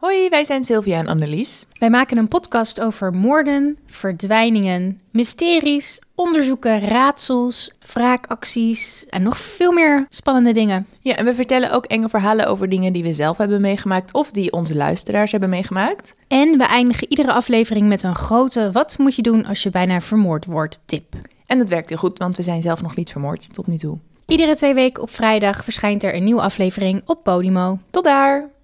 Hoi, wij zijn Sylvia en Annelies. Wij maken een podcast over moorden, verdwijningen, mysteries, onderzoeken, raadsels, wraakacties en nog veel meer spannende dingen. Ja, en we vertellen ook enge verhalen over dingen die we zelf hebben meegemaakt of die onze luisteraars hebben meegemaakt. En we eindigen iedere aflevering met een grote wat moet je doen als je bijna vermoord wordt tip. En dat werkt heel goed, want we zijn zelf nog niet vermoord tot nu toe. Iedere twee weken op vrijdag verschijnt er een nieuwe aflevering op Podimo. Tot daar!